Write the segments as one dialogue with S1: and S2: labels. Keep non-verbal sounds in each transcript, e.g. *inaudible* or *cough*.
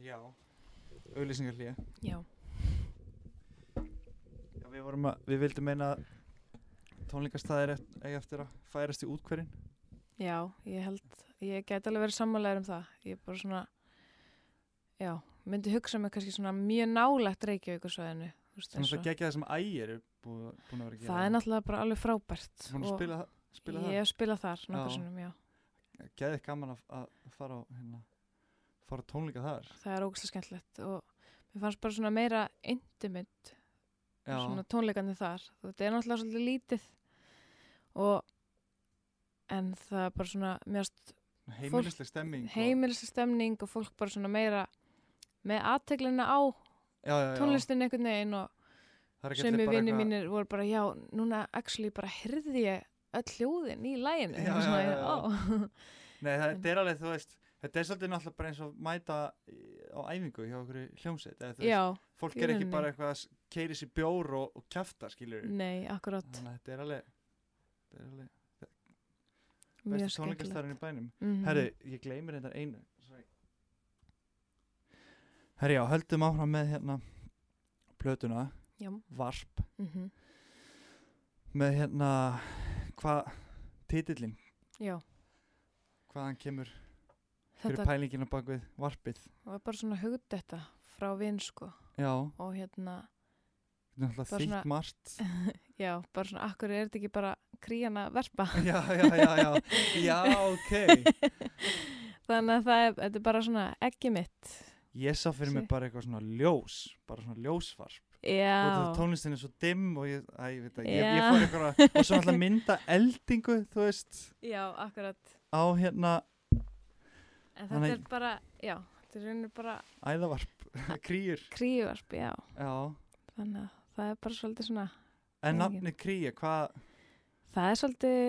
S1: Já, auðlýsingarlíja
S2: Já.
S1: Já, við, vorum að, við vildum meina að tónleikastæðir eft- eigi eftir að færast í útkverinn
S2: Já, ég held, ég gæti alveg verið sammálaður um það. Ég er bara svona, já, myndi hugsa mig kannski svona mjög nálægt Reykjavíkursvæðinu. þú veist,
S1: þannig
S2: eins
S1: að
S2: og-
S1: það gegja það sem ægir er búið, búin að vera að gera
S2: Það er náttúrulega bara alveg frábært.
S1: Hún
S2: og
S1: spila, spila
S2: Ég hef spilað þar,
S1: Já.
S2: nokkur sinnum, já.
S1: það Geðið gaman að, að fara á hérna, fara á tónleika þar
S2: Það er ógæslega skemmtilegt og mér fannst bara svona meira intimate,
S1: Já,
S2: svona tónleikandi þar. Þetta er náttúrulega svolítið lítið og en það er bara svona, mér finnst
S1: heimilisleg stemming og-
S2: heimilisestemning og fólk bara svona meira með aðteglina á
S1: já, já, já.
S2: tónlistin einhvern veginn og
S1: Það er ekki
S2: sömu
S1: allir bara
S2: vinnir
S1: eitthvað-
S2: mínir voru bara já, núna actually bara hyrði ég öll hljóðin í læginu
S1: Já,
S2: Og svona,
S1: já, já, já.
S2: "Ó."
S1: Nei, það, þetta er alveg, þú veist Þetta er svolítið náttúrulega bara eins og mæta í- á æfingu hjá okkur hljómsveit eða þú veist,
S2: *laughs* já,
S1: Fólk
S2: í
S1: er ekki
S2: rauninni.
S1: bara eitthvað að keiri sér bjór og, og kjafta, skilur
S2: nei, akkurat
S1: Þannig að þetta er alveg, þetta er alveg
S2: mjög
S1: besti
S2: skemmtilegt
S1: tónleikastarinn í bænum
S2: mm
S1: Herri, ég gleymir þetta einu Sorry. Herri, já, höldum áfram með hérna plötuna,
S2: já,
S1: varp
S2: mm
S1: með hérna, hvað titillin,
S2: já.
S1: hvaðan kemur fyrir
S2: þetta
S1: pælingina bak við varpið
S2: var bara svona hugdetta frá vinn sko
S1: Já,
S2: og hérna,
S1: þetta er náttúrulega
S2: Bara svona-
S1: þýtt margt
S2: *laughs* já, bara svona akkur er þetta ekki bara krían að verpa *laughs*
S1: Já, já, já, já, já, ok
S2: þannig að það er, þetta er bara svona ekki mitt
S1: Ég sá fyrir mig
S2: Sí.
S1: bara eitthvað svona ljós bara svona ljósvarp
S2: já,
S1: og tónlistin er svo dimm og ég, æ, ég veit það, ég, ég
S2: Já.
S1: fór eitthvað og
S2: *laughs*
S1: svo náttúrulega mynda eldingu, þú veist
S2: já, akkurat
S1: á hérna
S2: En þetta
S1: Þannig-
S2: er bara, já, þetta er raunir bara
S1: æðavarp, kríur
S2: krívarp, já.
S1: já.
S2: Þannig að það er bara svolítið svona,
S1: en
S2: Nei,
S1: nafni kríu, hvað
S2: það er svolítið,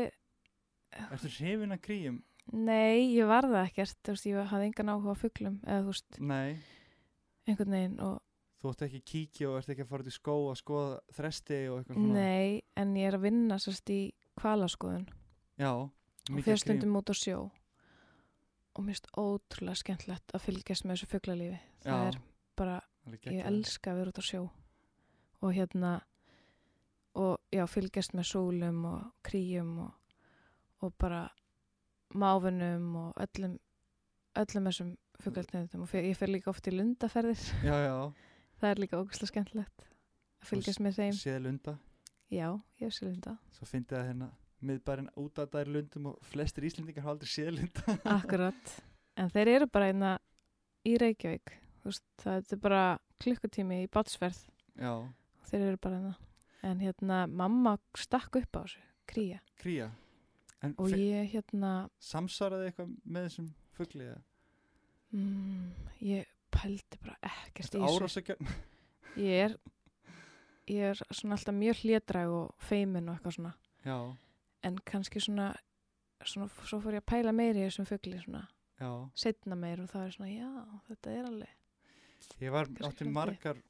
S1: ertu hrifin að kríum?
S2: nei, ég var það ekkert, þú veist, ég hafði engan áhuga á fuglum, eða þú veist,
S1: nei,
S2: einhvern veginn og
S1: þú ætti ekki að kíkja og ert ekki að fara út í skó að skoða þresti og eitthvað svona
S2: nei, en ég er að vinna sérst í kvalaskoðun
S1: já,
S2: og
S1: mikið
S2: fyrir
S1: af kríum
S2: stundum út á sjó og mér finnst ótrúlega skemmtilegt að fylgjast með þessu fuglalífi. Það
S1: Já,
S2: er bara,
S1: alveg
S2: ég
S1: geggjað.
S2: elska að vera út á sjó og hérna, og já, fylgjast með sólum og kríum og, og bara máfinum og öllum, öllum þessum fuglartnefndum og fer, ég fer líka oft í lundaferðir,
S1: já, já,
S2: það er líka ógustlega skemmtilegt að fylgjast með þeim.
S1: séð lunda
S2: Já, ég hef sér lunda,
S1: svo fyndi það hérna miðbærin út að það er lundum og flestir íslendingar hafa aldrei séð lunda
S2: *laughs* akkurat, en þeir eru bara einna í Reykjavík, þú veist, það er bara klukkutími í bátsferð,
S1: *laughs* já,
S2: þeir eru bara einna. En hérna, mamma stakk upp á þessu, kría.
S1: kría en
S2: og
S1: fe-
S2: ég hérna
S1: samsvaraði eitthvað með þessum fugli eða?
S2: mm, ég pældi bara ekkert
S1: Ertu
S2: í þessu
S1: árásargjörn?
S2: ég er, ég er svona alltaf mjög hlédræg og feimin og eitthvað svona
S1: *laughs* já,
S2: en kannski svona, svona svo fór ég að pæla meiri í þessum fugli svona
S1: já
S2: setna meir og það er svona já þetta er alveg
S1: Ég var,
S2: Kannski
S1: átti
S2: haldið.
S1: margar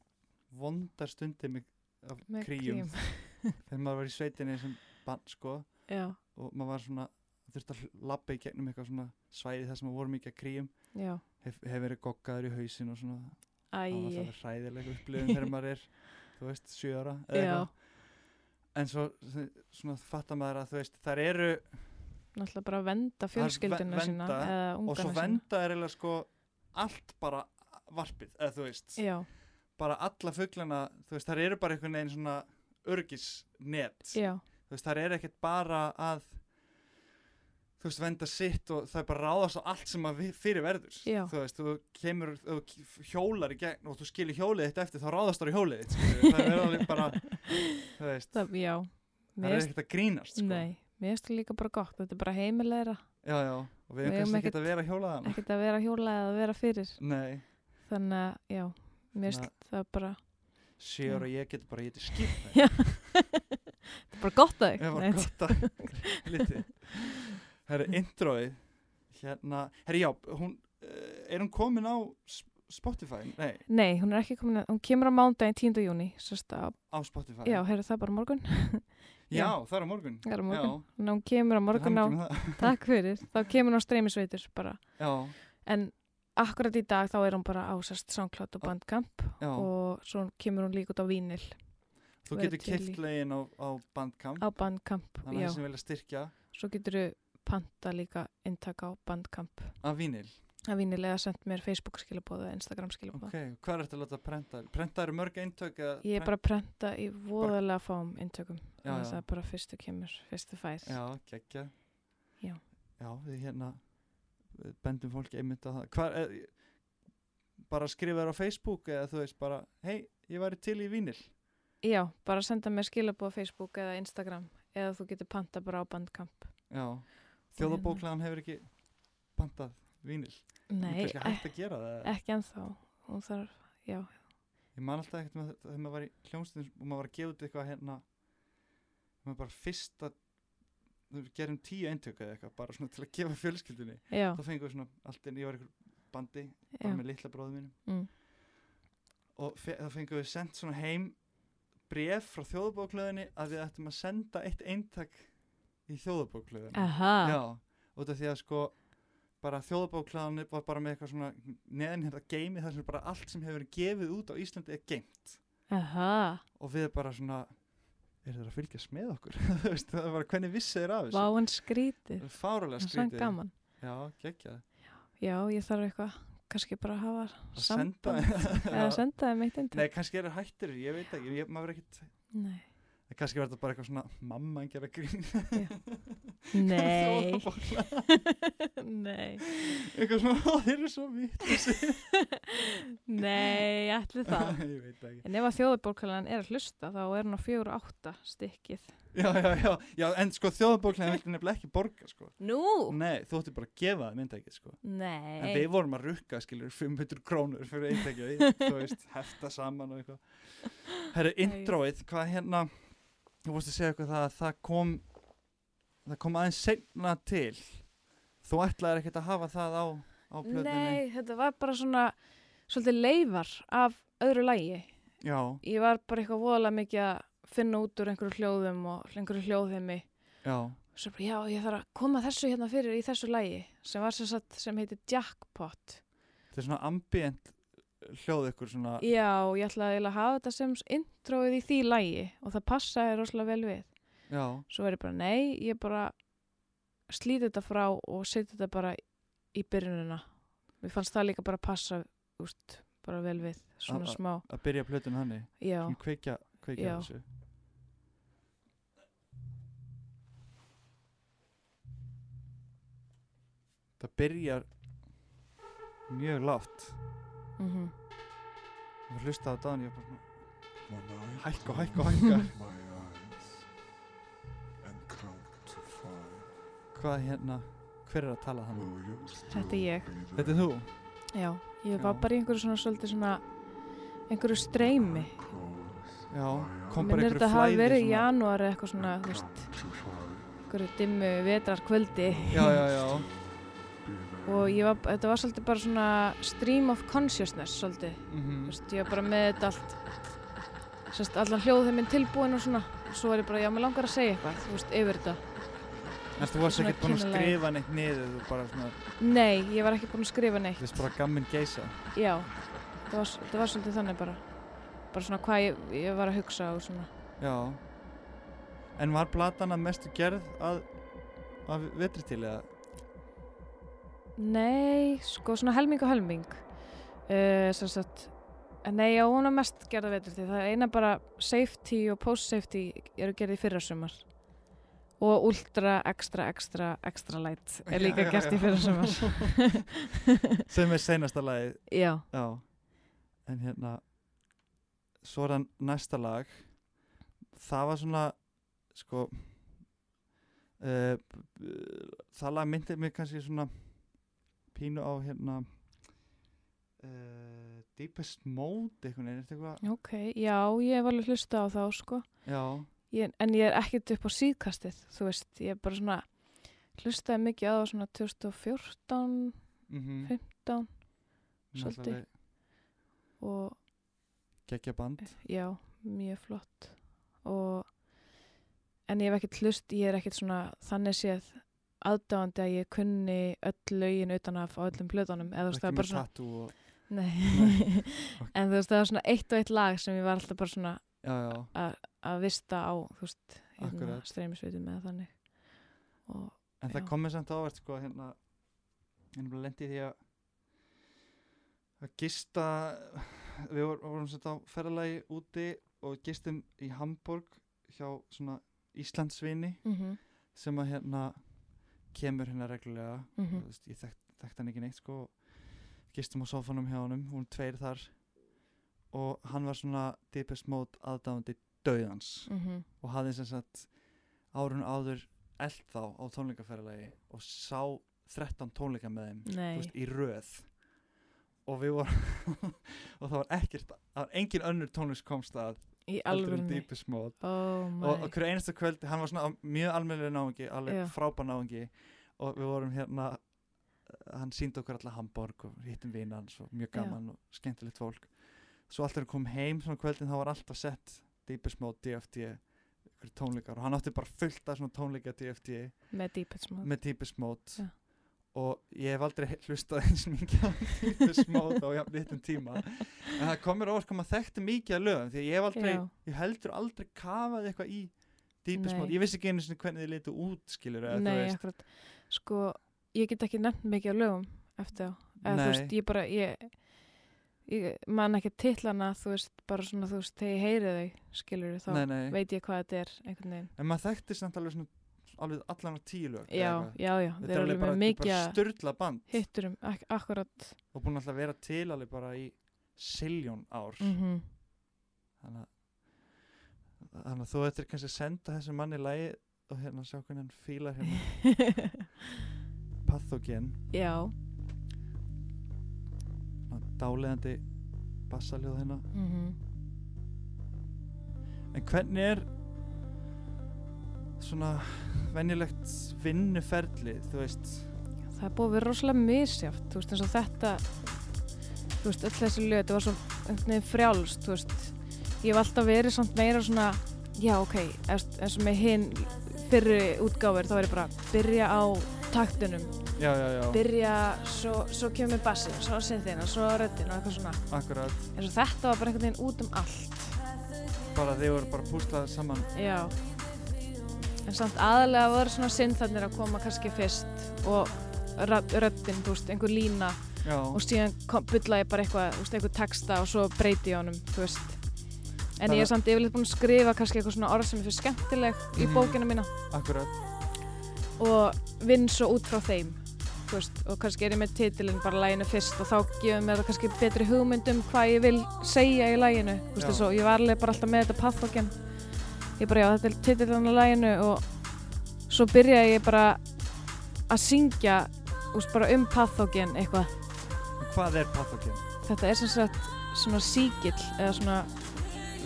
S1: vondar stundir með, af
S2: með
S1: kríum
S2: krím.
S1: *laughs* þegar maður var í sveitinni sem bann sko
S2: *laughs* já,
S1: og maður var svona þurfti að labba í gegnum eitthvað svona svæði þar sem maður voru mikið að kríum
S2: já,
S1: hef, hef verið goggaður í hausin og svona það var
S2: æ,
S1: alltaf hræðileg upplifun þegar maður
S2: *laughs*
S1: er þú veist, sjö ára eða
S2: Já.
S1: eitthvað. en svo s- svona fattar maður að þú veist þar eru
S2: náttúrulega bara að venda fjölskylduna
S1: vernda
S2: sína eða
S1: og svo
S2: ungana sína
S1: venda er eiginlega sko allt bara varpið eða þú veist
S2: já,
S1: bara alla fuglana þú veist þar eru bara einhvern veginn svona örgisnet
S2: já,
S1: þú veist, þar er ekkert bara að þú veist, venda sitt og það er bara ráðast á allt sem að við- fyrir verður
S2: Já.
S1: þú veist, þú kemur þú hjólar í gegn og þú skilur hjólið þitt eftir þá ráðast þar í hjólið þitt skilurðu. það er alveg
S2: *laughs*
S1: bara þú veist, það,
S2: það, já
S1: er
S2: mér finnst-
S1: ekkert að grínast sko.
S2: nei, mér finnst það líka bara gott þetta er bara heimilegra
S1: já, já, og við
S2: Við
S1: erum
S2: eigum
S1: kannski ekkert
S2: ekkert-
S1: að vera hjólaðan
S2: ekkert að vera hjóla eða að vera fyrir
S1: nei,
S2: þannig að já, mér
S1: Þannig
S2: finnst það bara
S1: sér og ég get bara ég get skip
S2: Já. það er bara gott að
S1: Það var gott að *laughs* liti. Herri, introið, hérna, herri já, hún, eh, er hún komin á S- Spotify? Nei,
S2: nei, hún er ekki komin að, hún kemur á mándaginn 10. júni sérst að,
S1: á Spotify.
S2: já, heyrðu það bara á morgun
S1: Já, það er á morgun.
S2: það er á morgun, þannig að hún kemur á
S1: til
S2: morgun á
S1: hamingju með það.
S2: takk fyrir, þá kemur hún á streymisveitur bara,
S1: Já,
S2: en akkurat í dag þá er hún bara ásast SoundCloud
S1: Á-
S2: og Bandcamp
S1: já,
S2: og svo kemur hún líka út á vínil
S1: þú
S2: verður
S1: getur
S2: til í-
S1: keift legin á, á bandkamp
S2: á Bandcamp,
S1: þannig að Mm.
S2: já,
S1: það sem vilja styrkja
S2: svo getur þú panta líka intak á Bandcamp
S1: af vínil
S2: að vínil eða sendt mér Facebook skilabóð eða Instagram skilabóð
S1: ok, hvað er þetta að láta prenta prenta eru mörg eintök eða
S2: ég er
S1: prent-
S2: bara að prenta í voðalega fáum inntökum
S1: Já,
S2: þannig að
S1: já.
S2: það er bara fyrstu kemur, fyrstu fær
S1: já, geggja
S2: Já.
S1: við hérna við bendum fólki einmitt á það hvað, eð, bara skrifa þér á Facebook eða þú veist bara, hei, ég væri til í vínil
S2: Já, bara senda mér skilabóð á Facebook eða Instagram eða þú getur panta bara á Bandcamp
S1: já, þjóðabóklaðan hefur ekki pantað vínil
S2: Nei, eh,
S1: ekki hægt að gera það eða?
S2: ekki ennþá hún þarf, já,
S1: Ég man alltaf ekkert með þetta þegar maður var í hljómsveitin og maður var að gefa út eitthvað hérna maður bara fyrsta við gerum tíu eintöku eða eitthvað bara svona til að gefa fjölskyldunni
S2: já,
S1: þá fengum við svona allt inn, ég var í einhver bandi bara
S2: já.
S1: með litla bróðum mínum
S2: Mm.
S1: og fe- þá fengum við sendt svona heim bref frá þjóðabóklöðinni að við ættum að senda eitt eintak í þjóðabóklöðinni
S2: Aha,
S1: Já, út af því að sko bara þjóðabóklöðinni var bara með eitthvað svona neðan hérna geimi þar sem bara allt sem hefur verið gefið út á Íslandi er geimt
S2: aha
S1: og við bara svona er þeir að fylgjast með okkur *laughs* Þú veist, það var hvernig vissi þeir af þessu
S2: Váin skrítið,
S1: Það er fárulega
S2: það er sann
S1: skrítið
S2: gaman
S1: já, gekkja
S2: Já, ég þarf eitthvað, kannski bara að hafa
S1: að senda
S2: samband
S1: *laughs*
S2: eða
S1: Já.
S2: senda þeim eitt
S1: nei,
S2: eintak
S1: kannski er það hættir, ég veit ekki ég, maður er ekkit, *laughs*
S2: Nei,
S1: kannski verður þetta bara eitthvað svona mamma en gera grín
S2: nei,
S1: Þjóðarbókla.
S2: *laughs* nei,
S1: *laughs* eitthvað svona, "Ó, þeir eru svo vitt
S2: nei, ætli *laughs*
S1: *laughs*
S2: það
S1: ég veit það ekki
S2: En ef að þjóðabókalan er að hlusta þá er hann á 4-8 stykkið
S1: já, já, já, já, en sko þjóðabóklega vildi nefnilega ekki borga sko.
S2: Nú?
S1: nei, þú ætti bara að gefa það myndækið sko. en
S2: Nei,
S1: við vorum að rukka skilur 500 krónur fyrir eintækið þú
S2: *laughs*
S1: veist, hefta saman og eitthvað Herru, introið, hvað hérna þú vorst að segja eitthvað það að það kom það kom aðeins seinna til þú ætlaðir ekkert að hafa það á, á plöðinni
S2: nei, þetta var bara svona svolítið leifar af öðru lægi
S1: já,
S2: Ég var bara eitthvað voðalega mikið að finna út úr einhverju hljóðum og einhverju hljóðheimi
S1: já,
S2: og svo bara, já, ég þarf að koma þessu hérna fyrir í þessu lægi sem var sem sagt, sem heitir Jackpot
S1: þetta er svona ambient hljóð ykkur svona
S2: Já, ég ætlaði eiginlega að hafa þetta sem introið í því lægi og það passaði rosalega vel við
S1: já,
S2: Svo er ég bara, nei, ég bara slíti þetta frá og seti þetta bara í byrjunina Mér fannst það líka bara passa úst, bara vel við, svona
S1: A- a-
S2: smá
S1: að byrja plöðinu þannig
S2: Já,
S1: svona kveikja, kveikja
S2: Já.
S1: þessu það byrjar mjög látt
S2: mhm
S1: og hlusta á Dan ég var bara svona hækka, hækka, hækka
S3: *laughs* my eyes and count to five.
S1: hvað hérna, hver er að tala þannig
S3: Will you still
S2: Þetta er ég.
S3: be there?
S1: þetta er þú,
S2: Já, ég var
S1: Já.
S2: bara í einhverju svona svolítið svona einhverju streymi
S3: Close
S1: já, kom bara
S2: Minnir
S1: einhverju
S2: þetta hafi
S1: flæði
S2: verið í
S1: svona-
S2: janúar eða eitthvað svona, þú veist,
S3: to five.
S2: einhverju dimmu vetrarkvöldi
S1: já, já, já,
S3: Be there.
S2: og ég var, þetta var svolítið bara svona stream of consciousness svolítið,
S1: mhm,
S2: þú veist, ég var bara með þetta allt sérst, allan hljóðheiminn tilbúin og svona, svo var ég bara, já, mér langar að segja eitthvað, þú veist, yfir þetta
S1: en þú varst
S2: svona
S1: ekkert búin að
S2: kynalagi.
S1: skrifa neitt niður þú bara svona,
S2: Nei, ég var ekki búin að skrifa neitt,
S1: þú veist bara gamminn geisa
S2: já þetta var, þetta var svolítið þannig bara bara svona hvað ég, ég var að hugsa og svona
S1: já en var platan að mestu gerð að, að vetri til eða
S2: Nei, sko svona helming og helming uh, sem sagt en nei, já, hún er mest gerða vetur því það er eina bara safety og post-safety eru gerði í fyrrasumar og ultra, extra, extra, extra light er líka
S1: Já, já,
S2: gert í
S1: já.
S2: fyrrasumar *laughs*
S1: sem er seinasta lagið
S2: Já,
S1: já. en hérna svo er það næsta lag það var svona sko uh, það lag myndi mér kannski svona pínu á hérna uh, deepest mode einhvern veginn, er þetta eitthvað
S2: ok, já, ég var alveg að hlusta á þá sko
S1: já,
S2: ég, en ég er ekkert upp á síðkastið þú veist, ég er bara svona hlustaði mikið á það svona 2014
S1: mm -hmm,
S2: 15 svolítið. og
S1: geggja band
S2: Já, mjög flott og en ég hef ekkert hlust, ég er ekkert svona þannig séð aðdáandi að ég kunni öll lögin utan af á öllum plötunum eða þú veist það
S1: ekki
S2: var bara
S1: með
S2: svona
S1: tattu
S2: *laughs*
S1: og
S2: Nei. en þú veist það var svona eitt og eitt lag sem ég var alltaf bara svona
S1: já, já,
S2: að vista á þú veist hérna,
S1: Akkurat.
S2: streymisveitum eða þannig og
S1: en það
S2: Já.
S1: komið samt ávert sko hérna en bara lendi því að að gista við vor- vorum sett á ferðalagi úti og gistum í Hamburg hjá svona Íslandsvini
S2: mm -hmm,
S1: sem að hérna kemur hérna reglulega
S2: mm
S1: mm. veist, ég þekkt, þekkt hann ekki neitt sko gistum á sofanum hjá honum, hún tveir þar og hann var svona deepest mode aðdáðandi dauðans
S2: mhm.
S1: og hafði sem sagt árun áður eld þá á tónleikaferðalagi og sá 13 tónleika með þeim þú
S2: nei
S1: veist, í röð og við vorum *laughs* og það var ekkert, það var engin önnur tónlist komst að
S2: í
S1: heldur en
S2: alvörni
S1: Deepest Mode
S2: oh my
S1: og, og hverju einasta kvöld, hann var svona á- mjög almennlega náungi, alveg
S2: Já.
S1: frábær náungi og við vorum hérna hann síndi okkur alla Hamburg og hittum vina hans og mjög
S2: Já.
S1: gaman og skemmtilegt fólk svo alltaf kom heim svona um kvöldin þá var alltaf sett Deepest Mode, DFD ykkur tónleikar og hann átti bara fullt af svona tónleika DFD
S2: með Deepest Mode
S1: með Deepest Mode
S2: Já.
S1: og ég hef aldrei *laughs* he- hlustað eins mikið á Deepest Mode á jafn littum tíma en það komur óvart kom að þekkti mikið að lögum því að ég hef aldrei,
S2: Já.
S1: ég heldur aldrei kafaði eitthvað í Deepest
S2: Nei.
S1: Mode, ég vissi ekki einu sinni hvernig þið litu út skilur eða þú
S2: nei
S1: veist
S2: akkurat sko ég get ekki nefnt mikið á lögum eftir á eða þú veist
S1: Nei,
S2: ég bara ég, ég man ekki titlana þú veist bara svona þú veist þegar ég heyri þau skilur þá
S1: nei, nei,
S2: veit ég hvað þetta er einhvern veginn
S1: en maður þekkti samt alveg svona alveg allan á tíu lög eða
S2: já,
S1: eitthvað.
S2: já, já, þeir
S1: þetta
S2: eru
S1: er
S2: alveg
S1: alveg bara, þetta er
S2: með mikið
S1: bara
S2: að
S1: störla band
S2: hitturum ak akkurat
S1: og búin alltaf að vera til alveg bara í siljón ár
S2: mm
S1: þannig að- þannig að þú ættir kannski að senda þessum manni lægi og hérna sjá hvernig hann fílar *laughs* hérna pathogen
S2: *laughs* já
S1: svona dáleðandi bassaljóð hérna
S2: mm
S1: en hvernig er svona venjulegt vinnuferli þú veist
S2: það er búið að vera rosalega misjátt þú veist eins og þetta þú veist öll þessi lög þetta var svo einhvern veginn frjálst þú veist ég hef alltaf verið samt meira svona já ok eins eins og með hinn fyrri útgáfur þá er ég bara að byrja á taktunum
S1: já já já
S2: byrja svo, svo kemur bassin svo synþina, svo röddin og eitthvað svona
S1: akkurat
S2: eins og þetta var bara einhvern veginn út um allt
S1: bara þeir voru bara púslaði saman
S2: Já En samt aðalega voru svona sinnþarnir að koma kannski fyrst og rödd- röddin, þú veist, einhver lína
S1: já
S2: og síðan kom- bulla ég bara eitthvað, þú veist, einhver texta og svo breyti ég honum, þú veist En ég
S1: Þannig-
S2: er samt yfirleitt búin að skrifa kannski eitthvað svona orð sem er fyrir skemmtileg í
S1: Mhm.
S2: bókina mína
S1: akkurat
S2: og vinn svo út frá þeim þú veist, og kannski er ég með titilin bara læginu fyrst og þá gefum mér það kannski betri hugmyndum hvað ég vil segja í læginu þú veist,
S1: Já.
S2: eins og ég var alveg bara alltaf með þetta pathogen ég bara já, þetta er titilin á læginu og svo byrjaði ég bara að syngja þú veist, bara um pathogen eitthvað
S1: en hvað er pathogen
S2: þetta er sem sagt svona síkill eða svona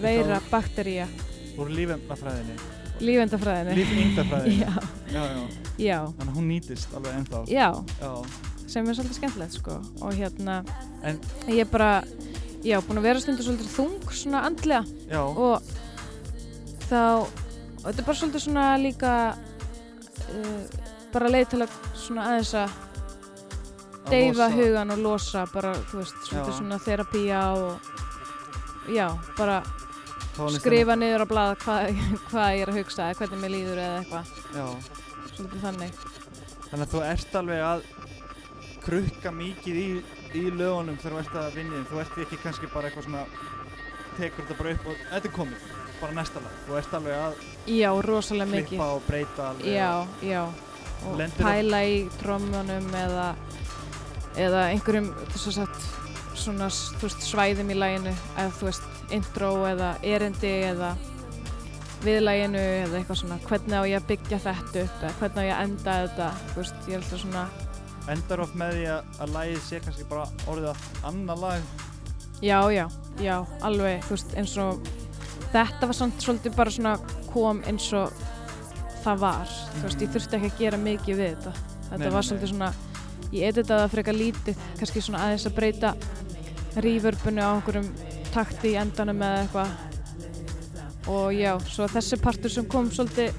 S2: veira, baktería
S1: úr lífendafræðinni
S2: lífendafræðinni
S1: lífendafræðinni
S2: *laughs* já,
S1: já já
S2: já,
S1: þannig að hún nýtist alveg ennþá
S2: já
S1: já
S2: sem er svolítið skemmtilegt sko og hérna
S1: En-
S2: ég er bara já, búin að vera stundur svolítið þung svona andlega
S1: já
S2: og þá og þetta er bara svolítið svona líka uh, bara leið til að svona aðeins að
S1: að
S2: deyfa
S1: losa-
S2: hugan og losa bara, þú veist, svolítið
S1: Já.
S2: svona þerapía og já, bara
S1: tónlistina.
S2: skrifa niður á blað hvað *laughs* hva ég er að hugsa eða hvernig mér líður eða eitthvað,
S1: já
S2: svolítið þannig
S1: Þannig að þú ert alveg að krukka mikið í, í lögunum þegar þú ert að vinna í þeim. Þú ert ekki kannski bara eitthvað svona, tekur þetta bara upp og þetta er komið, bara næsta lag. Þú ert alveg að
S2: já, rosalega mikið
S1: klippa og breyta alveg.
S2: já, já og
S1: Lendir á-
S2: pæla í trommunum eða, eða einhverjum þess að sagt svona s- þú veist, svæðum í læginu eða þú veist, intro eða erindi eða viðlæginu eða eitthvað svona, hvernig á ég að byggja þetta upp eða hvernig á ég að enda þetta þú veist, ég er alltaf svona,
S1: Og endar of með því að, að lagið sé kannski bara orðið að annað lag.
S2: já, já, já alveg, þú veist, eins og þetta var samt svolítið bara svona kom eins og það var þú veist, ég þurfti ekki að gera mikið við þetta
S1: Nei,
S2: þetta
S1: nei,
S2: var
S1: nei.
S2: svolítið svona ég editaði það frekar lítið, kannski svona aðeins að breyta rývörbunu á einhverjum takti í endanum eða eitthvað og já, svo þessi partur sem kom svolítið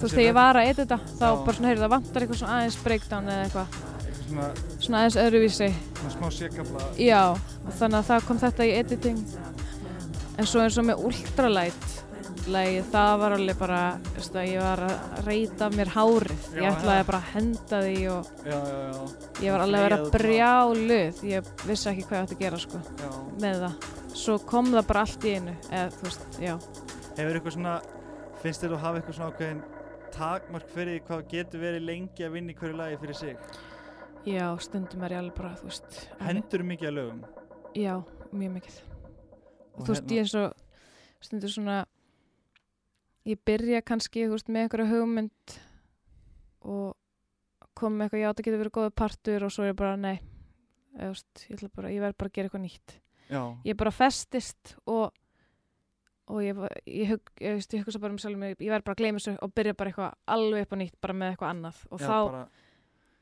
S2: þú veist, þegar ég var að eita þetta þá
S1: Já.
S2: bara svona, heyrðu, það vantar eitthvað svona aðeins breakdown eða eitthvað,
S1: Eitthvað svona,
S2: svona aðeins öðruvísi
S1: svona smá sékabla
S2: já, og þannig að það kom þetta í editing en svo eins og með ultralight lagið, það var alveg bara veist, að ég var að reyta mér hárið
S1: Já,
S2: ég ætlaði
S1: já.
S2: bara að henda því og
S1: Já, já, já,
S2: ég var alveg að vera
S1: Fleygja þú
S2: brjáluð ég vissi ekki hvað ég átti að gera sko,
S1: já
S2: með það svo kom það bara allt í einu eða, þú veist, já,
S1: Hefur eitthvað svona, finnst þér þú hafa eitthvað svona ákveðin takmark fyrir því hvað þú getur verið lengi að vinna í hverju lagi fyrir sig?
S2: já, stundum er ég alveg bara, þú veist alveg-
S1: Hendur mikið að lögum?
S2: já, mjög mikið
S1: Og hérna-
S2: og þú veist, ég eins og stundur svona ég byrja kannski, þú veist, með einhverja hugmynd og kom með eitthvað, já, það getur verið góðu partur og svo er ég bara, nei eða, þú veist, ég, ætla bara, ég verð bara að gera eitthvað nýtt
S1: Já,
S2: ég bara festist og og ég, bara- ég, hug, ég, veist, ég hugsa bara um sjálf mig, ég verð bara að gleyma þessu og byrja bara eitthvað alveg upp á nýtt, bara með eitthvað annað og
S1: já,
S2: þá,
S1: bara,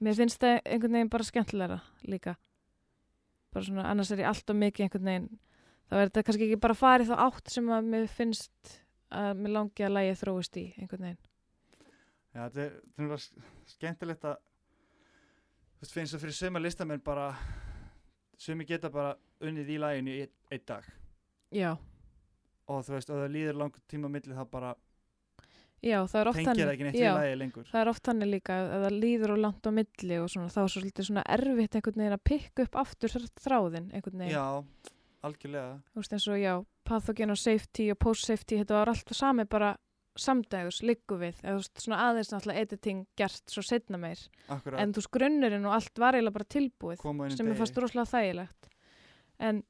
S2: mér finnst það einhvern veginn bara skemmtilegra líka bara svona, annars er ég alltaf mikið einhvern veginn þá er þetta kannski ekki bara farið þá átt sem að mér finnst að mér langi að lægi þróist í einhvern veginn
S1: já, þetta er, þetta er nefnilega skemmtilegt að, þú veist, finnst þú fyrir söma listamenn bara, sömi geta bara unnið í laginu í einn- einn dag
S2: já,
S1: og þú veist, og það líður langur tíma á milli þá bara
S2: já það er oft
S1: tengir það ekki neitt í
S2: já,
S1: lagi lengur.
S2: það er oft hannig líka að það líður og langt á milli og svona, þá er svolítið svona erfitt einhvern veginn að pikka upp aftur þr- þráðinn einhvern veginn,
S1: Já, algjörlega.
S2: þú veist eins og já pathogen og safety og post safety þetta var alltaf sami bara samdægurs liggu við, eða þú veist svona aðeins náttúrulega editing gert svo setna meir
S1: Akkurat,
S2: en þú veist, grunnurinn og allt var eiginlega bara tilbúið
S1: koma inn í
S2: sem ég fannst rosalega þægilegt en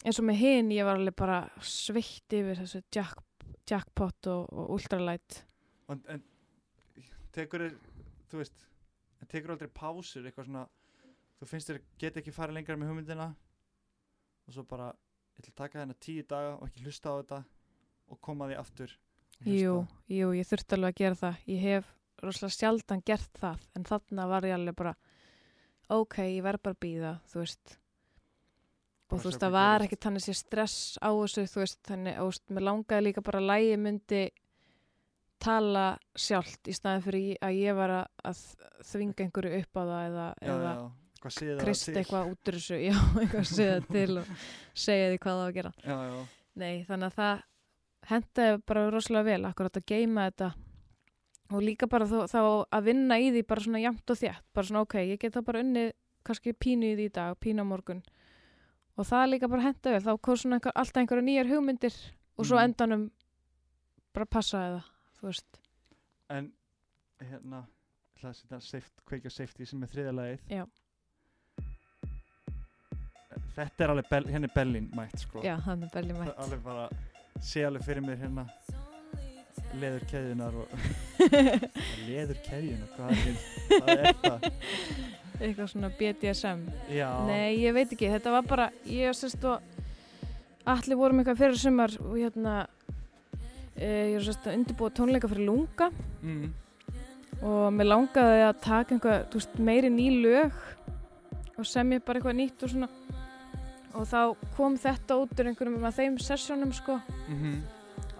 S2: eins og með hinn ég var alveg bara sveitt yfir þessu jack, jackpot og, og ultralight
S1: en, en tekur þér, þú veist en tekur aldrei pásur eitthvað svona þú finnst þér geta ekki farið lengra með hugmyndina og svo bara ég ætla að taka þennan tíu daga og ekki hlusta á þetta og koma því aftur og hlusta.
S2: jú, jú, ég þurfti alveg að gera það ég hef rosalega sjaldan gert það en þarna var ég alveg bara ok, ég verð bara að býða, þú veist og
S1: Bara
S2: þú
S1: sjá
S2: veist,
S1: hvað
S2: það var
S1: gerist.
S2: ekkert þannig sé stress á þessu, þú veist, þannig, og þú veist, mér langaði líka bara að lægi myndi tala sjálft í staðin fyrir ég- að ég var að- að þvinga einhverju upp á það eða,
S1: já,
S2: eða
S1: já, eitthvað séð það
S2: krist
S1: til.
S2: eitthvað út úr þessu, *laughs* já, eitthvað að segja til og segja því hvað það á að gera.
S1: já, já,
S2: Nei, þannig að það hendaði bara rosalega vel, akkurat að geima þetta og líka bara þó, þá að vinna í því bara svona jæmt og þétt, bara svona ok, ég get það bara unnið kannski pínu í því í dag, pínu á morgun og það líka bara hendaði vel, þá kom svona einhver, alltaf einhverju nýjar hugmyndir og svo
S1: Mhm.
S2: endanum bara passaði það, þú veist,
S1: en hérna ég ætla að setja safe- kveikja á safety sem er þriðja lagið
S2: Já.
S1: þetta er alveg bel, henni Berlín mætt sko
S2: já, þannig er belli
S1: Það er alveg bara sé alveg fyrir mér hérna leður keðjunar og
S2: *laughs* mætt.
S1: leður keðjunar, hvað er, hvað er það?
S2: Eitthvað svona BDSM.
S1: Já,
S2: Nei, ég veit ekki, þetta var bara ég og sérst og allir vorum eitthvað fyrir sumar og hérna e, ég er sérst að undirbúa tónleika fyrir lunga
S1: mm,
S2: og mér langaði að taka einhvað þú veist, meiri ný lög og semja bara eitthvað nýtt og svona og þá kom þetta út úr einhverjum af þeim sessjónum sko
S1: mm -hmm.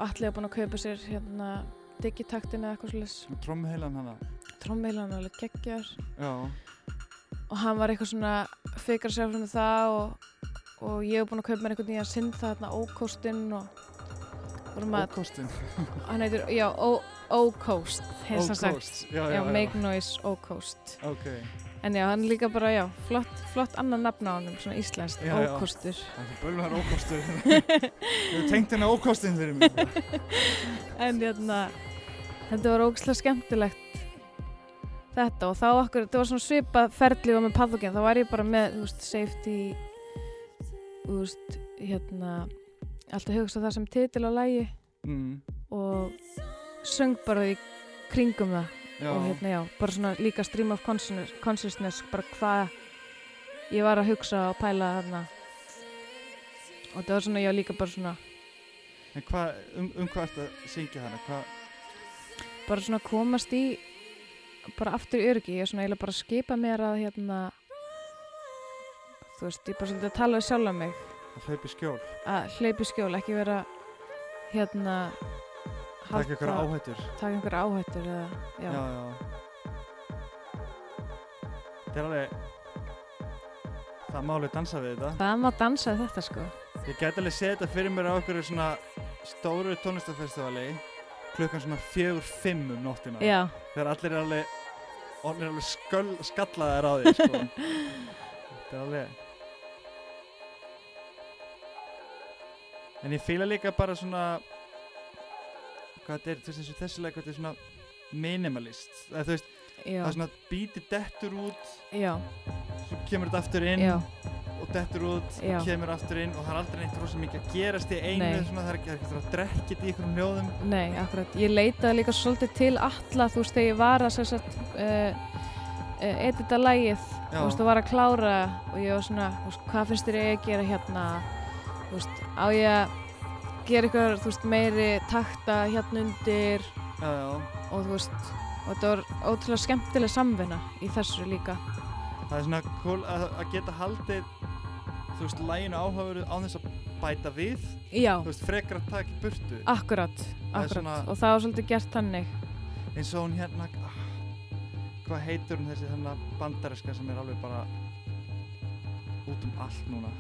S2: og allir var búin að kaupa sér hérna digitaktin eða eitthvað svolítið
S1: trommuheilan hana
S2: trommeilan alveg geggjar
S1: Já,
S2: og hann var eitthvað svona fikar sér frá með það og, og ég hef búin að kaupa mér einhvern nýjan sinn þarna ókóstinn og vorum að,
S1: ókostin
S2: hann heitir, já, Ó- ókóst heitir sem sagt,
S1: já, já,
S2: já,
S1: já,
S2: make noise ókóst
S1: Ok,
S2: en já, hann er líka bara, já, flott, flott annan nafn á honum, svona íslenskt,
S1: Já, já.
S2: ókóstur
S1: það er bölvar
S2: *laughs*
S1: ókostur Þú tengt henni ókostin fyrir mig
S2: en hérna, þetta var ógislega skemmtilegt þetta og þá okkur, þetta var svona svipað ferlið og með pathogen, þá var ég bara með þú veist, safety þú veist, hérna alltaf hugsa það sem titil á lægi
S1: mm,
S2: og söng bara í kringum það
S1: Já,
S2: og hérna já, bara svona líka stream of consciousness, consciousness bara hvað ég var að hugsa og pæla þarna og þetta var svona, já líka bara svona
S1: en hvað, um, um hvað ertu að syngja hana? Hvað,
S2: bara svona komast í bara aftur í öryggi, ég er svona eiginlega bara að skipa mér að hérna þú veist, ég er bara svolítið að tala við sjálf um mig
S1: að hlaupi skjól
S2: að hlaupi skjól, ekki vera hérna
S1: Takk ykkur áhættur
S2: taka einhver áhættur eða, já,
S1: já, já. Þetta er alveg Það má alveg dansa við þetta
S2: það má dansa við þetta sko
S1: Ég gæti alveg séð þetta fyrir mér á okkur svona stóru tónlistafestivali klukkan svona fjögur fimm um nóttina
S2: já,
S1: þegar allir er alveg orðnir alveg sköll, skallaðir á því
S2: *laughs*
S1: sko. þetta er alveg en ég fýla líka bara svona hvað þetta er, þú veist eins og þessi lag hvað þetta er svona minimalist eða þú veist,
S2: já,
S1: það er svona bíti dettur út,
S2: já,
S1: svo kemur þetta aftur inn
S2: já
S1: og dettur út
S2: Já.
S1: og kemur aftur inn og það er aldrei neitt rosa mikið að gerast í einu,
S2: Nei.
S1: svona, það er ekki það er ekki að drekja þetta í ykkur hljóðum
S2: Nei, akkurat. Ég leitaði líka svolítið til alla, þú veist, þegar ég var að sérst uh, edita lægið, þú veist, og var að klára og ég var svona, þú veist, hvað finnst þér ég að gera hérna, þú veist, á ég að gera eitthvað, þú veist, meiri takta hérna undir
S1: já, já.
S2: og þú veist, og þetta var ótrúlega skemmtileg samvinna í þessu líka.
S1: það er svona cool að, að geta haldið þú veist, læginu áhafur á þess að bæta við
S2: Já,
S1: þú veist, frekar að taka í burtu
S2: akkurat,
S1: Það er
S2: akkurat,
S1: svona-
S2: og það var svolítið gert þannig.
S1: eins og hún hérna ah, hvað heitur hún þessi þennan bandariska sem er alveg bara út um allt núna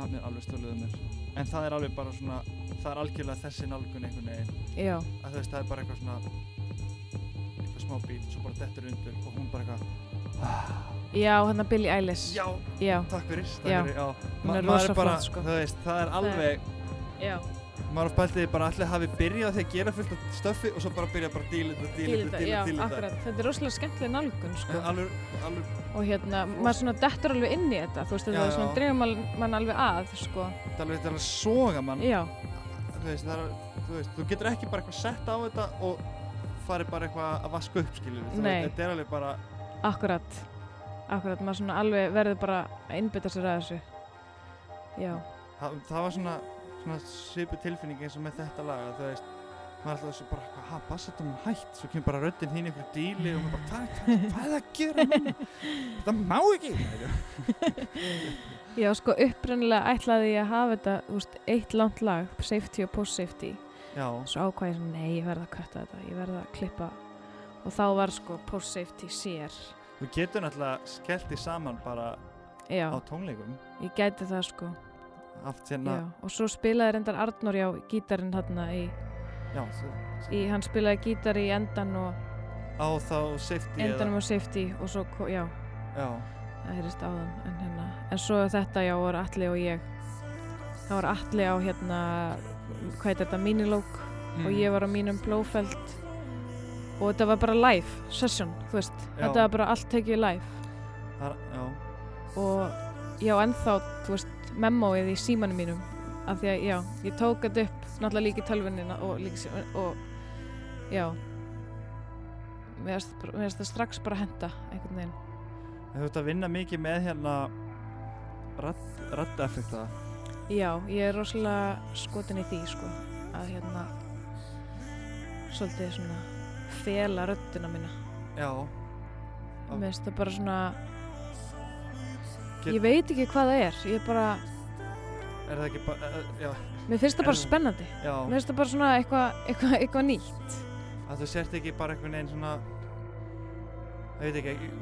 S1: nafnið er alveg stöluðum mér en það er alveg bara svona það er algjörlega þessi nálgun einhvern veginn
S2: Já,
S1: að þú veist, það er bara eitthvað svona eitthvað smá bít, svo bara dettur undir og hún bara eitthvað,
S2: já, hérna Billie Eilish.
S1: já,
S2: Já,
S1: takk fyrir, takk
S2: Já.
S1: fyrir, já
S2: Hún er
S1: Ma- maður
S2: rosa
S1: bara,
S2: flott, sko.
S1: þú veist, það er alveg
S2: já,
S1: maður spæltiði bara allir hafi byrjað því að gera fullt af stöffi og svo bara byrjað bara að díla þetta, díla þetta,
S2: já,
S1: díla díla þetta
S2: akkurat. Þetta er rosalega skemmtileg nálgun, sko.
S1: En alveg, alveg,
S2: og hérna, maður svona dettur alveg inn í þetta þú veist,
S1: Já,
S2: þetta er svona
S1: já.
S2: dreifum mann alveg að sko,
S1: þetta alveg, þetta alveg soga mann
S2: já,
S1: þú veist, það er, þú veist, þú getur ekki bara eitthvað sett á þetta og farið bara eitthvað að vaska upp, skilur þú
S2: Nei.
S1: veist, þetta er alveg bara,
S2: akkurat akkurat, maður svona alveg verður bara að innbytta sér að þessu já,
S1: það, það var svona svona svipu tilfinning eins og með þetta lag að þú veist, maður er alltaf svo bara eitthvað, ha, bassatum hætt, svo kemur bara röddinn þín í einhverju díli og maður bara, hvað, hvað, hvað er það að gera
S2: *laughs*
S1: núna? þetta má ekki
S2: já sko upprunalega ætlaði ég að hafa þetta, þú veist, eitt langt lag safety og post safety
S1: já,
S2: svo ákvæði ég svona, nei, ég verð að kötta þetta ég verð að klippa og þá var sko post safety sér
S1: þú getur náttúrulega skellt því saman bara
S2: já,
S1: á tónleikum
S2: ég gæti það sko
S1: haft hérna,
S2: já. og svo spilaði reyndar Arnór já, gítarinn þarna í,
S1: já, já
S2: í hann spilaði gítar í endan og
S1: á þá safety
S2: endanum á safety og svo, ko- já,
S1: eða, já,
S2: það heyrist áðan en, hérna, en svo þetta, já, voru Alli og ég það voru Alli á hérna hvað er þetta, minilók og
S1: Mm.
S2: ég var á mínum blófeld og þetta var bara live session, þú veist,
S1: Já.
S2: þetta var bara allt tekið live
S1: Þar, já,
S2: og já, ennþá, þú veist memóið í símanum mínum af því að, já, ég tók þetta upp náttúrulega líka í tölvunina og líka í símanum og, já mér finnst bara- mér finnst það strax bara henda einhvern veginn
S1: þú ert að vinna mikið með hérna raddeffekta
S2: Já, ég er rosalega skotin í því sko að hérna svolítið svona fela röddina mína
S1: já, Já.
S2: mér finnst það bara svona
S1: Get-
S2: ég veit ekki hvað það er ég bara,
S1: er það ekki bara eh, eh, já,
S2: mér finnst það
S1: Er-
S2: bara spennandi
S1: já,
S2: mér finnst það bara svona eitthvað eitthva, eitthva nýtt
S1: að þú sért ekki bara einhvern veginn svona ég veit ekki ekki-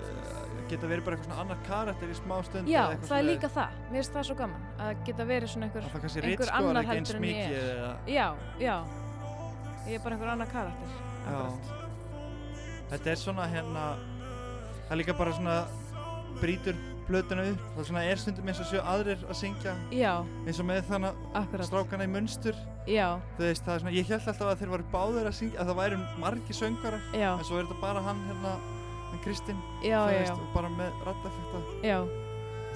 S1: eh, geta verið bara eitthvað svona annar karakter í smá stund
S2: Já,
S1: eða eitthvað
S2: það er
S1: svoleiðis.
S2: líka það, mér finnst það svo gaman að geta verið svona
S1: að
S2: einhver
S1: það kannski
S2: einhver
S1: ritskoðar
S2: annar
S1: ekki eins
S2: heldur en ég
S1: mikið eða,
S2: Já, já ég er bara einhver annar karakter akkurat.
S1: þetta er svona hérna það er líka bara svona brýtur blötuna upp það svona er stundum eins og sjö aðrir að syngja
S2: Já,
S1: eins og með þannig
S2: akkurat
S1: strákana í munstur
S2: Já,
S1: þú veist það er svona ég held alltaf að þeir varu báðir að syngja að það væri margi söngarar
S2: já,
S1: en svo er þetta bara hann hérna hann Kristinn
S2: já,
S1: þú
S2: já,
S1: veist,
S2: já,
S1: og bara með rattafekta
S2: já.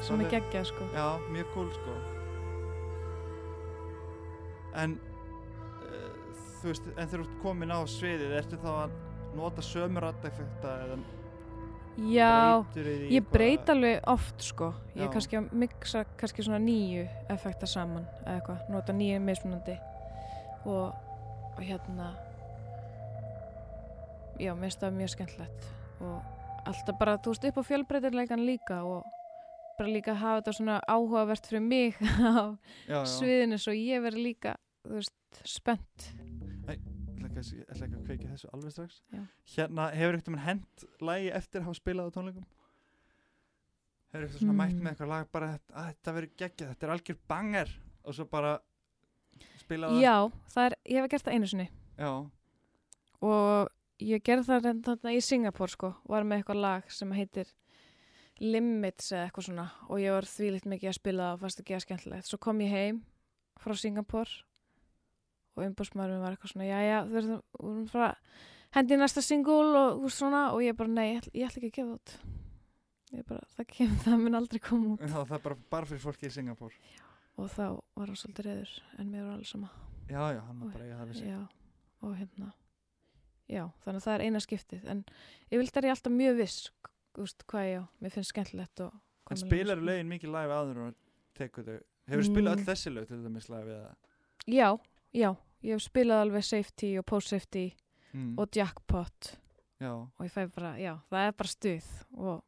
S2: sem er geggjað sko
S1: já mjög cool sko en uh, þú veist en þegar þú ert komin á sviðið ertu þá að nota sömu rattafekta eða
S2: Já,
S1: breytur í því
S2: ég
S1: eitthvað?
S2: breyt alveg oft sko ég
S1: Já.
S2: er kannski að mixa kannski svona nýju effekta saman eða eitthvað, nota nýju mismunandi og, og hérna já, mér finnst það mjög skemmtilegt og alltaf bara, þú veist, upp á fjölbreytilegan líka og bara líka hafa þetta svona áhugavert fyrir mig *laughs* á
S1: já, já.
S2: sviðinu svo ég verð líka þú veist, spennt
S1: ætla ekki að- ætla ekki að kveiki þessu alveg strax
S2: Já.
S1: hérna hefur eitthvað mann hent lagi eftir að hafa spilað á tónleikum hefur eitthvað svona mætt
S2: Mm.
S1: með eitthvað lag bara að þetta verður geggjað, þetta er algjör banger og svo bara spilað það?
S2: Já, það er, ég hef gert það einu sinni
S1: já,
S2: og ég gerði það reynd þarna í Singapur sko, var með eitthvað lag sem heitir Limits eða eitthvað svona og ég var þvílitt mikið að spila það og fannst ekki að skemmtilegt. Svo kom ég heim frá Singapur og umbúrsmæðurinn var eitthvað svona, já já, þú verður þú verður frá hendi í næsta singul og þú veist svona og ég bara, nei, ég ætla, ég ætla ekki að gefa það út. Ég bara, það kemur, það mun aldrei koma út
S1: já, það er bara, bara fyrir fólki í Singapur
S2: og þá var hann svolítið reyður en mér var alls sama.
S1: já, já, hann var bara að eiga það við sig
S2: Já, og hérna Já, þannig að það er eina skiptið en yfirleitt er ég alltaf mjög viss k- þú veist, hvað ég á, mér finnst skemmtilegt og hvað
S1: en
S2: mér
S1: spilar
S2: langar.
S1: lögin mikið live áður og tekur þau hefur spilað öll þessi lög til dæmis live eða
S2: Já, já, ég hef spilað alveg safety og post safety
S1: mm.
S2: og jackpot
S1: já,
S2: og ég fæ bara, já, það er bara stuð og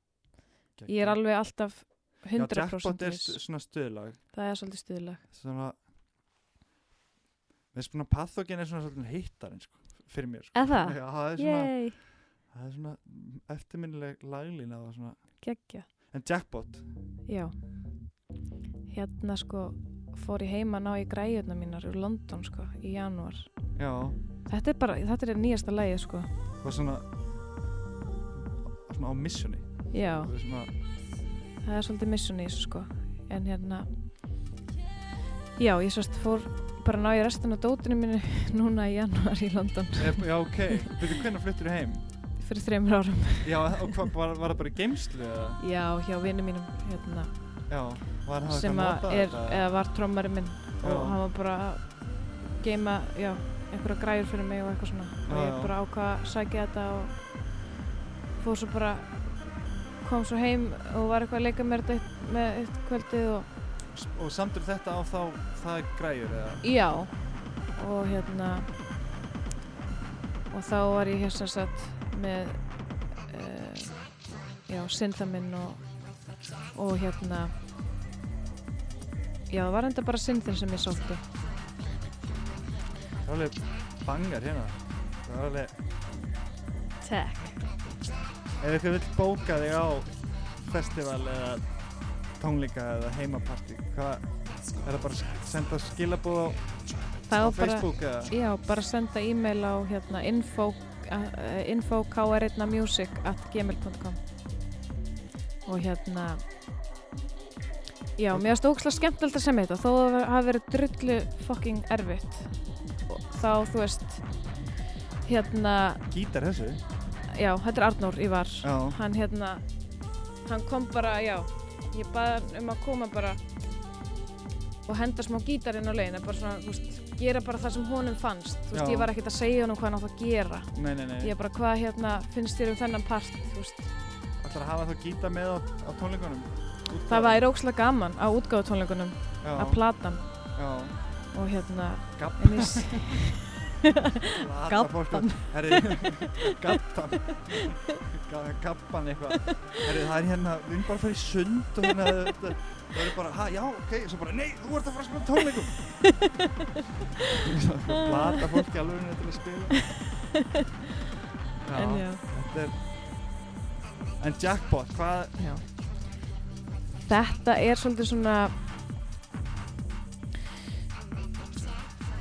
S1: geggjað.
S2: ég er alveg alltaf
S1: já, jackpot
S2: 100%
S1: er
S2: viss,
S1: st- svona stuðlag
S2: það er svolítið stuðlag
S1: svona við spuna pathogen er svona svolítið hittarinn sko, fyrir mér sko.
S2: Er það?
S1: Já, það er svona,
S2: Yey,
S1: það er svona eftirminnileg laglína og svona.
S2: geggja
S1: en jackpot
S2: Já Hérna sko fór ég heima að ná í græjurnar mínar úr London sko í janúar
S1: já,
S2: Þetta er bara, þetta er nýjasta lægið sko.
S1: var svona svona á missjoni
S2: Já,
S1: Það er svona,
S2: það er svolítið missun í þessu sko. En hérna, já, ég sérst fór bara að ná í restin af dótinu mínu *laughs* núna í januar í London
S1: ef- já ok veitir hvernig fluttur þú heim
S2: fyrir þreymur árum.
S1: já, og hvað, var, var það bara í geimslu eða
S2: Já, hjá vinnu mínum, hérna,
S1: já, var það
S2: sem að
S1: nota
S2: er,
S1: þetta?
S2: eða var trommari minn
S1: Já.
S2: og hann var bara að geima, já, einhverja græjur fyrir mig og eitthvað svona.
S1: Já,
S2: og ég
S1: já.
S2: bara ákvað að sækja þetta og fór svo bara, kom svo heim og var eitthvað að leika mér þetta eitt, með eitt kvöldið og
S1: S- og samtur þetta á þá það er græjur eða
S2: Já og hérna og þá var ég hér sem sagt með uh, já, synthaminn og, og hérna já, það var enda bara synthin sem ég sótti
S1: það er alveg bangar hérna það er alveg
S2: Tech
S1: Ef ykkur vill bóka þig á festival eða tónleika eða heimaparti, hvað, er það bara að senda skilabóð á,
S2: Það
S1: á
S2: var bara,
S1: Facebook eða?
S2: já, bara senda e-mail á hérna info uh, info kr1music at gmail.com og hérna já, mér varst ókslega skemmtilegt að semja þetta þó að það hafi verið drullu fucking erfitt og þá, þú veist hérna,
S1: Gítar þessu?
S2: já, þetta er Arnór Ívar
S1: Já.
S2: hann hérna hann kom bara, já ég baði hann um að koma bara og henda smá gítarinn á leiðina bara svona, þú veist, gera bara það sem honum fannst þú veist,
S1: Já.
S2: ég var ekkert að segja honum hvað hann átt að gera
S1: Nei, nei, nei.
S2: ég bara, hvað hérna finnst þér um þennan part, þú veist
S1: Ætlar að hafa þá gítar með á, á tónleikunum? Útgáfu?
S2: það væri ókslega gaman á útgáðutónleikunum að platan
S1: Já,
S2: og hérna,
S1: Gabb-
S2: en ég s-
S1: plata
S2: Gabban.
S1: fólk. Herri, gabban. Ga- Gabban eitthvað. Herri, það er hérna, við erum bara að fara í sund og hérna, þetta- það eru bara, ha, já, ok, svo bara, nei, þú ert að fara að spila á tónleikum. Svo eitthvað Plata fólki alveg henni til að spila.
S2: en já,
S1: Þetta er... En jackpot, hvað...
S2: já þetta er svolítið svona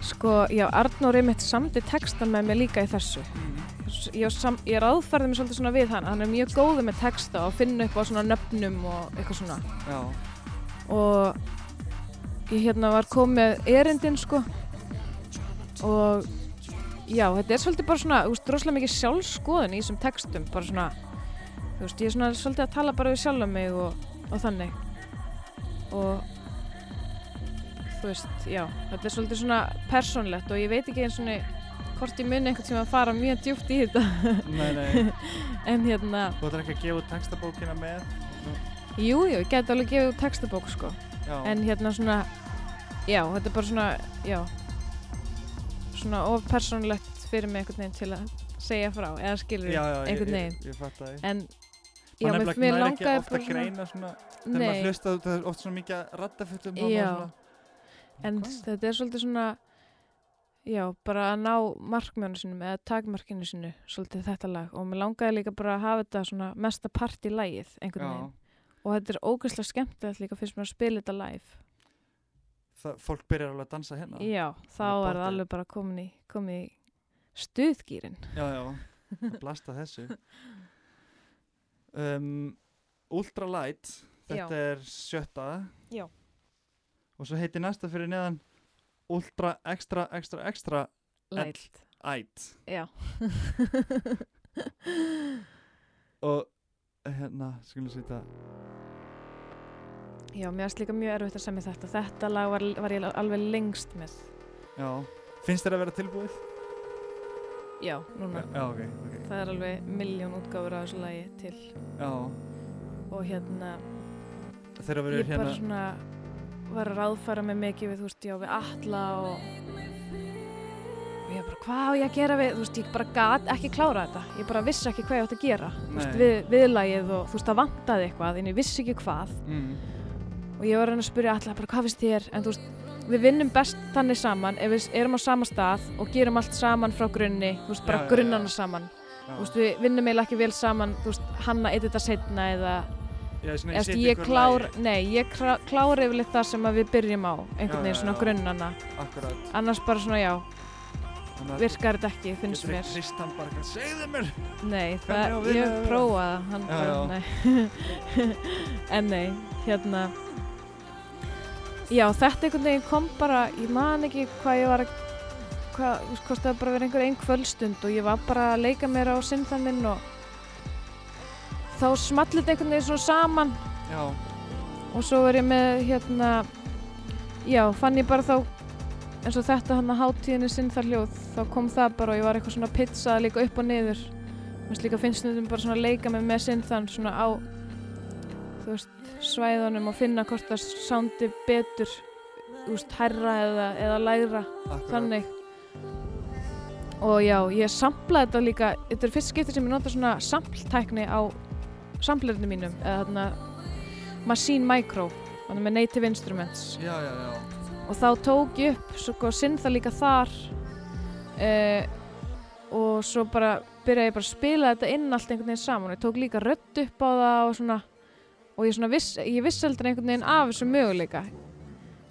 S2: sko, já, Arnór einmitt samdi textan með mér líka í þessu ég, var sam, ég ráðfærði mig svolítið svona við hann hann er mjög góður með texta og finna upp á svona nöfnum og eitthvað svona
S1: Já,
S2: og ég hérna var komið erindin sko og já, þetta er svolítið bara svona, þú veist, rosalega mikið sjálfskoðun í þessum textum, bara svona þú veist, ég er svona svolítið að tala bara við sjálfa mig og, og þannig og þú veist, já, þetta er svolítið svona persónlegt og ég veit ekki eins og hvort ég muni einhvern tíma að fara mjög djúpt í þetta *laughs*
S1: nei, nei,
S2: en hérna,
S1: þú ætlar ekki að gefa út textabókina með.
S2: jújú, jú, ég gæti alveg gefið út textabók sko,
S1: Já,
S2: en hérna svona já, þetta er bara svona já, svona of persónlegt fyrir mig einhvern veginn til að segja frá, eða skilur
S1: já, já, ég- ég,
S2: einhvern veginn,
S1: ég, ég fatt að ég.
S2: en já,
S1: Man
S2: mér,
S1: nefnilega
S2: mér
S1: nær ekki
S2: langaði
S1: ofta að greina svona, þegar maður
S2: nei,
S1: hlusta út, það er oft svona mikið að radda fyrir um
S2: Já. en þetta er svolítið svona Já, bara að ná markmjónu sinum eða takmarkinu sinu, svolítið þetta lag og mér langaði líka bara að hafa þetta svona mesta part í lagið, einhvern
S1: Já,
S2: veginn og þetta er ógeðslega skemmtilegt líka fyrst mér að spila þetta live
S1: það, fólk byrjar alveg að dansa hérna
S2: Já, þá
S1: Alveg
S2: er það
S1: party.
S2: alveg bara komin í, komin í stuðgýrin
S1: Já, já, að blasta þessu um, Ultralight Þetta er sjötta
S2: Já.
S1: Og svo heitir næsta fyrir neðan Ultra Extra Extra Extra
S2: Lælt,
S1: Ætt
S2: já *laughs*
S1: Og hérna, skulum sýta
S2: Já, mér erst líka mjög erfitt að semja þetta Þetta lag var, var ég alveg lengst með
S1: Já, finnst þér að vera tilbúið?
S2: Já, núna
S1: Já, ok, ok
S2: Það er alveg miljón útgáfur á þessu lagi til
S1: Já,
S2: og hérna
S1: þeirra
S2: ég
S1: verið
S2: bara
S1: hérna
S2: svona var að ráðfæra mig mikið við, þú veist, já, við alla og, og ég bara, hvað á ég að gera við, þú veist, ég bara gat ekki klára þetta, ég bara vissi ekki hvað ég átt að gera, þú veist,
S1: Nei.
S2: við, viðlagið og þú veist, það vantaði eitthvað, en ég vissi ekki hvað
S1: mm,
S2: og ég var að reyna að spyrja alla, bara, hvað finnst þér, en þú veist, við vinnum best þannig saman ef við erum á sama stað og gerum allt saman frá grunni, þú veist, bara
S1: Já, já, já.
S2: grunnana saman,
S1: já.
S2: þú veist, við vinnum eiginlega ekki vel saman, þú veist, hanna eitt þetta setna eða
S1: Já, svona,
S2: Eftir,
S1: setja
S2: ég
S1: ykkur
S2: klár,
S1: lagi.
S2: nei, ég krá- klára yfirleitt það sem að við byrjum á,
S1: Já,
S2: einhvern veginn
S1: já,
S2: svona
S1: já.
S2: grunnana.
S1: Akkurat
S2: Annars bara svona já,
S1: Þannig að
S2: virkar þetta ekki, finnst
S1: getur
S2: mér.
S1: ekki Tristan bara eitthvað, segðu mér
S2: Nei,
S1: Hvernig á
S2: það,
S1: að vinna
S2: ég
S1: þetta?
S2: prófaði það, hann
S1: Já, já.
S2: bara, nei. *laughs* en nei, hérna. Já, þetta einhvern veginn kom bara, ég man ekki hvað ég var að, hvað, þú veist, hvort það var bara verið einhver einn kvöldstund og ég var bara að leika mér á sinnþan minn og þá smallið þetta einhvern veginn svona saman
S1: Já,
S2: og svo var ég með hérna já, fann ég bara þá eins og þetta hann að hátíðinni sinn þar hljóð þá kom það bara og ég var eitthvað svona pizzað líka upp og niður Mér finnst líka finnst þetta bara svona að leika mig með sinn þann svona á þú veist, svæðunum og finna hvort það sándi betur þú veist, herra eða, eða lægra
S1: akkurat
S2: þannig og já, ég samplaði þetta líka þetta er fyrst skipti sem ég nota svona sampltækni á samplirinu mínum eða þarna Machine Micro þannig með Native Instruments
S1: Já, já, já
S2: og þá tók ég upp svo sinnþa líka þar eh, og svo bara byrjaði ég bara að spila þetta inn allt einhvern veginn saman og ég tók líka rödd upp á það og svona og ég, svona viss, ég vissi heldur einhvern veginn af þessu möguleika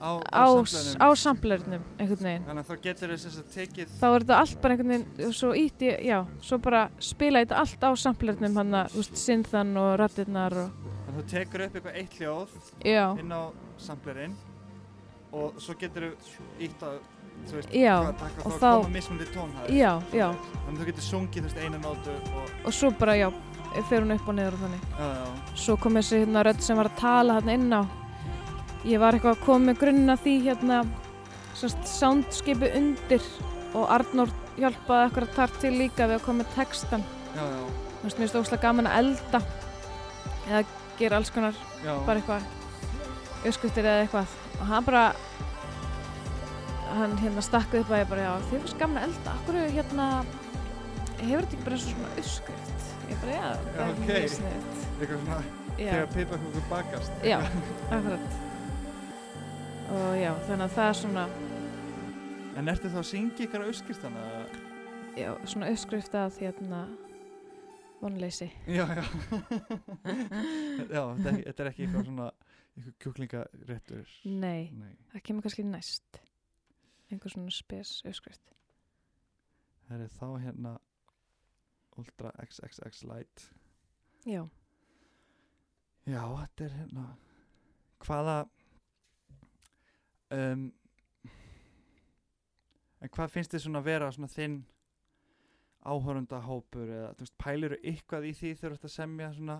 S1: Á,
S2: á,
S1: samplinum.
S2: á samplirnum einhvern veginn
S1: Þannig að þá getur þess að tekið
S2: þá er þetta allt bara einhvern veginn og svo ítti, ég- já, svo bara spila ég þetta allt á samplernum hann að, þú veist, synthan og rattirnar og,
S1: Þannig að þú tekur upp eitthvað eitt hljóð
S2: já,
S1: inn á samplerinn og svo getur þú ítt á þú veist,
S2: Já,
S1: hvað takka
S2: og
S1: þá
S2: þá-
S1: koma mismundi tónhæð
S2: já, já
S1: Þannig að þú getur sungið þú veist eina nótu og
S2: og svo bara, já, fer hún upp og niður og þannig,
S1: já, já,
S2: svo kom þessi hérna rödd sem var að tala hérna inn á ég var eitthvað að koma með grunna því hérna, semst, soundskipi undir og Arnór hjálpaði eitthvað þar til líka við að koma með textan,
S1: já, já,
S2: þú veist, mér finnst óslega gaman að elda eða gera alls konar
S1: já.
S2: bara eitthvað uppskuttir eða eitthvað og hann bara hann hérna stakk upp að ég bara já, þið finnst gaman að elda, akkur hérna hefur þetta ekki bara eins og svona uppskrift ég bara já, það er
S1: Já, ok.
S2: mjög sniðugt
S1: eitthvað svona
S2: já,
S1: þegar piparkókur bakast
S2: já, akkurat og já, þannig að það er svona
S1: En ertu þá að syngja ykkur á uskirtana?
S2: já, svona uppskrift að hérna vonleysi
S1: Já, já *laughs* Já, þetta er, ekki- þetta er ekki eitthvað svona eitthvað kjúklingaréttur
S2: nei,
S1: Nei,
S2: það kemur kannski næst einhver svona spes uppskrift
S1: það er þá hérna Ultra XXX Light
S2: já,
S1: Já, þetta er hérna hvaða um, en hvað finnst þið svona vera svona þinn áhörundahópur eða þú veist, pælirðu eitthvað í því þegar þú ert að semja svona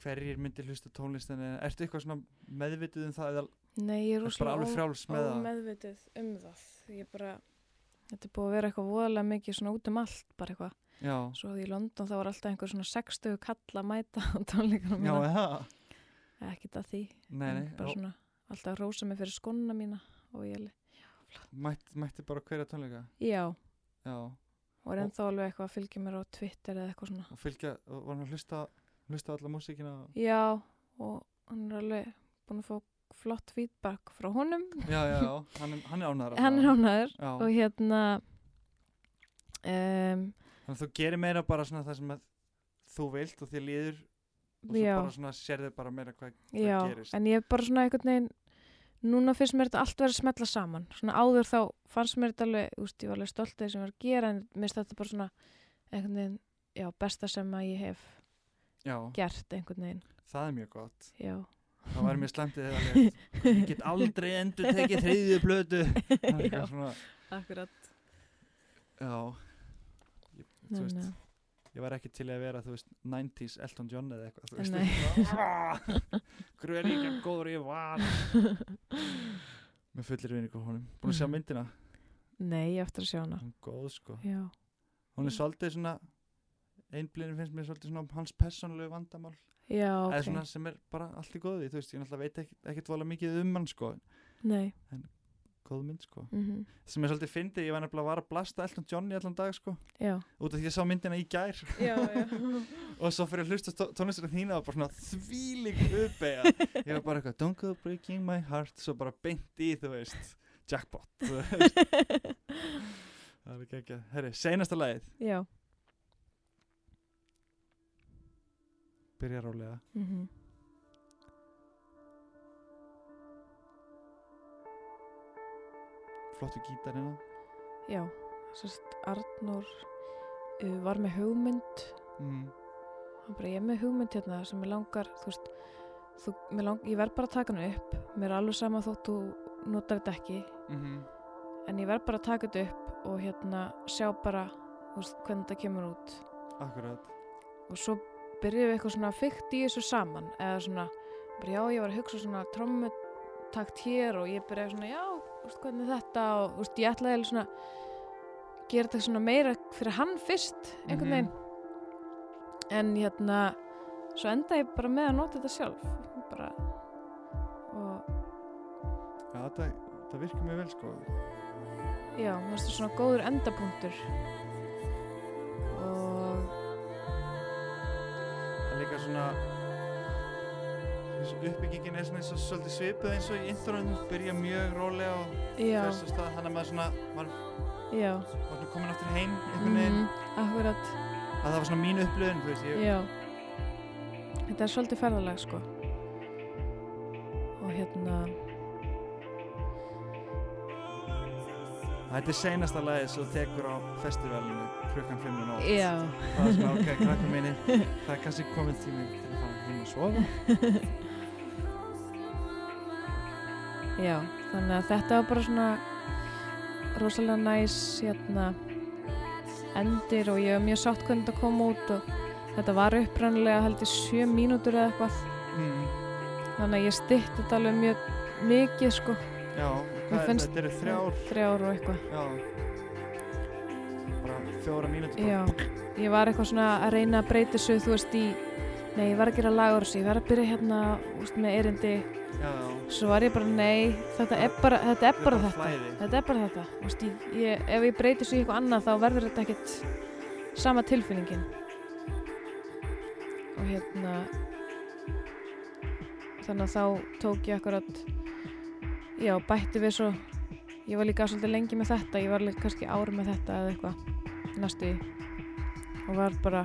S1: hverjir myndi hlusta tónlistin eða ertu eitthvað svona meðvituð um það eða
S2: nei, ég er
S1: er bara
S2: rosalega
S1: alveg
S2: ó-
S1: frjáls með
S2: með
S1: það
S2: meðvitið um það ég bara, þetta er búið að vera eitthvað voðalega mikið svona út um allt bara eitthvað
S1: Já,
S2: svo því í London þá var alltaf einhver svona 60 kalla að mæta á tónleikunum
S1: já,
S2: mína
S1: eða
S2: ekki það því,
S1: Nei,
S2: en
S1: nei,
S2: bara
S1: já,
S2: svona alltaf að rósa mig fyrir skona mína og ég li-
S1: mætt, mætti bara á hverja tónleika
S2: já,
S1: Já,
S2: og er ennþá alveg eitthvað að fylgja mér á Twitter eða eitthvað svona
S1: og fylgja, og var hann að hlusta hlusta á alla músíkina og
S2: já, og hann er alveg búin að fá flott feedback frá honum
S1: já, já, já, hann er, hann er ánæður
S2: hann er ánæður og
S1: já,
S2: hérna um,
S1: þannig að þú gerir meira bara svona það sem að þú vilt og þér líður og svo
S2: já,
S1: bara svona sérðu bara meira hvað
S2: já,
S1: gerist.
S2: en ég er bara svona einhvern veginn núna finnst mér þetta allt verið að smetla saman svona áður þá fannst mér þetta alveg úst, ég var alveg stolt af því sem ég var að gera en mér finnst þetta bara svona einhvern veginn já, besta sem að ég hef
S1: já,
S2: gert einhvern veginn
S1: það er mjög gott
S2: já,
S1: það væri mjög slæmt eða létt ég get aldrei endur tekið þriðju
S2: *laughs*
S1: blötu Það er
S2: Já.
S1: eitthvað svona,
S2: akkurat
S1: já, ég, þú veist ég var ekki til að vera, þú veist, 90s Elton John eða eitthvað, þú veist
S2: Nei.
S1: *laughs* eitthvað, hverju er ég ekki góður ég var með fullir vinningu á honum, búin að sjá
S2: Mhm.
S1: myndina
S2: nei, ég á eftir að sjá hana
S1: hún er góð sko,
S2: já,
S1: hún er svolítið svona einblíðin finnst mér svolítið svona um hans persónulegu vandamál
S2: já,
S1: eða
S2: ok
S1: svona sem er bara allt í góði, þú veist, ég náttúrulega veit ekkit, ekkit vola mikið um hann sko,
S2: nei,
S1: góð mynd sko
S2: mm
S1: sem er svolítið fyndið, ég var nefnilega að vara að blasta Elton John í allan dag sko,
S2: já
S1: út af því ég sá myndina í gær
S2: já, já
S1: og svo fyrir að hlusta tó- tónlistina þína var bara svona þvílík uppeyja *laughs* ég var bara eitthvað, don't go breaking my heart svo bara beint í, þú veist jackpot þú *laughs* veist. það er ekki ekki, herri, seinasta lagið
S2: já,
S1: byrja rólega
S2: mhm
S1: flottu hérna. gítarina
S2: Já, sérst Arnór uh, var með hugmynd
S1: mm.
S2: hann bara, ég er með hugmynd hérna sem ég langar, þú veist þú, mig lang, ég verð bara að taka hann upp mér er alveg sama þótt þú notar þetta ekki
S1: Mm
S2: en ég verð bara að taka þetta upp og hérna sjá bara, þú veist, hvernig þetta kemur út
S1: akkurat
S2: og svo byrjuðum við eitthvað svona fyrkt í þessu saman eða svona, bara já, ég var að hugsa svona trommutakt hér og ég byrjaði svona, já, þú veist, hvernig þetta og þú veist, ég ætlaði eiginlega svona gera þetta svona meira fyrir hann fyrst einhvern
S1: Mhm.
S2: veginn en hérna svo endaði ég bara með að nota þetta sjálf bara og
S1: já, það, það virkar mjög vel sko
S2: já, mér finnst það svona góður endapunktur og
S1: það er líka svona uppbyggingin er svona eins og svolítið svipuð eins og í intronum byrja mjög rólega og
S2: já,
S1: þess að stað þannig að maður svona maður
S2: já
S1: var svona komin aftur heim einhvern veginn
S2: mm, akkurat,
S1: að það var svona mín upplöðin, þú veist, ég
S2: já þetta er svolítið ferðalag sko og hérna
S1: Þetta er seinasta lagið sem þú tekur á festivalinu klukkan 5 og
S2: já,
S1: Það er svona ok, krakka
S2: *laughs*
S1: minni, það er kannski komið tími til að fara heim að sofa.
S2: já þannig að þetta var bara svona rosalega næs hérna endir og ég var mjög sátt hvernig þetta kom út og þetta var upprannlega held ég sjö mínútur eða eitthvað
S1: Mm,
S2: þannig að ég stytti þetta alveg mjög mikið sko,
S1: já,
S2: Mér
S1: hvað er,
S2: finnst-
S1: þetta eru þrjár,
S2: þrjár og eitthvað
S1: já, bara fjóra mínútur. bara.
S2: já, ég var eitthvað svona að reyna að breyta þessu þú veist í nei, ég var að gera lagur þessu, ég var að byrja hérna úst, með erindi,
S1: já, já.
S2: svo var ég bara nei, þetta er bara þetta, er bara þetta.
S1: Flæði.
S2: þetta er bara þetta Vist, ég, ég, ef ég breyti svo í eitthvað annað þá verður þetta ekkert sama tilfinningin og hérna þannig að þá tók ég akkurat já, bætti við svo ég var líka svolítið lengi með þetta ég var líka kannski ári með þetta eða eitthvað næstu í og var bara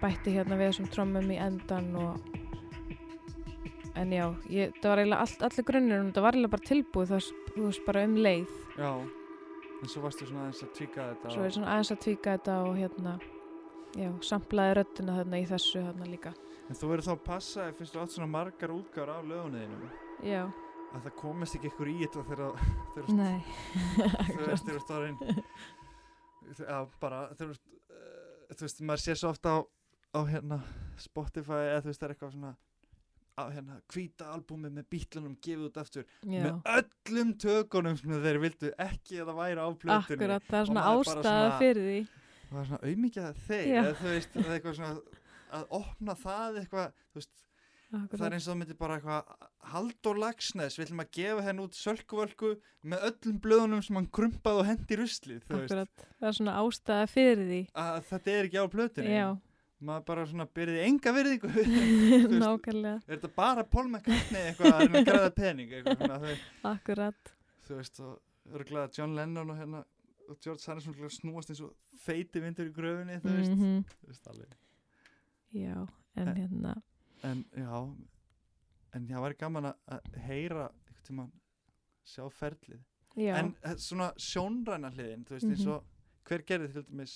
S2: bætti hérna við þessum trommum í endan og en já, ég, það var eiginlega allt, allir grunnir um þetta var eiginlega bara tilbúið það, þú veist bara um leið
S1: Já, en svo varstu svona aðeins að tvíka þetta.
S2: svo er svona aðeins að tvíka þetta og hérna já, samplaði röddina þarna í þessu þarna líka
S1: En þú verður þá að passa, ef finnst þú átt svona margar útgáður af lögunuðinu,
S2: já,
S1: að það komist ekki ykkur í þetta þegar þegar þú
S2: nei
S1: þú veist, þú veist, orðin já, bara, þú veist uh, þú veist, maður sé svo ofta á, á hérna, Spotify eða þú veist, það er eitthvað svona á hérna, hvíta albúmi með bítlunum gefið út aftur
S2: já,
S1: með öllum tökunum sem þeir vildu ekki að það væri á plötunni
S2: akkurat, það er svona
S1: maður bara
S2: ástæða
S1: svona-
S2: fyrir því
S1: og það er svona auðmikið þeir
S2: Já.
S1: eða þú veist, það er eitthvað svona að opna það eitthvað, þú veist Það er
S2: akkurat,
S1: eins og það myndi bara eitthvað Haldur Lagsnes, við ætlum að gefa henn út sölkuvölku með öllum blöðunum sem hann krumpaði og hendi ruslið, þú veist
S2: akkurat það er svona ástæða fyrir því
S1: að þetta er ekki á plötunni
S2: já,
S1: maður bara svona byrðið enga virðingu *laughs* er
S2: *laughs* nákvæmlega,
S1: þetta bara pólmekkarni eitthvað að reyna að græða pening eitthvað svona þau
S2: akkurat
S1: þú veist og örgulega John Lennon og hérna og George Harrison örugglega snúast eins og feiti vindur í gröfunni þú veist,
S2: Mhm.
S1: þú veist alveg.
S2: já, en
S1: En-
S2: hérna
S1: en já en það væri gaman að- að heyra einhvern tímann sjá ferlið
S2: já, Mhm.
S1: en eh, svona sjónræna hliðin þú veist eins og hver gerði til dæmis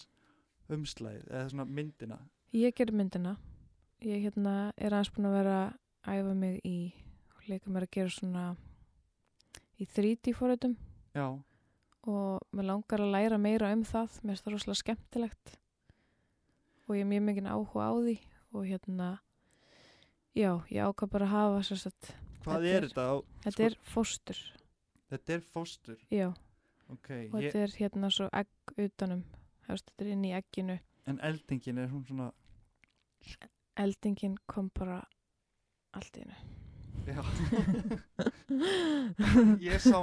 S1: umslæðið eða svona myndina
S2: ég gerði myndina ég hérna er aðeins búin að vera að æfa mig í og leika mér að gera svona í 3D fóruðum
S1: já,
S2: og mér langar að læra meira um það mér finnst það rosalega skemmtilegt og ég er mjög mikið áhuga á því og hérna já, ég ákvað bara að hafa sem sagt,
S1: hvað
S2: Þetta
S1: er,
S2: er-
S1: þetta á,
S2: þetta
S1: Sko-
S2: er fóstur
S1: þetta er fóstur
S2: já,
S1: ok,
S2: og
S1: ég,
S2: þetta er hérna svo egg utanum hefst, þetta er inn í egginu
S1: en eldingin er hún svona
S2: eldingin kom bara allt í hennu
S1: *laughs* já ég sá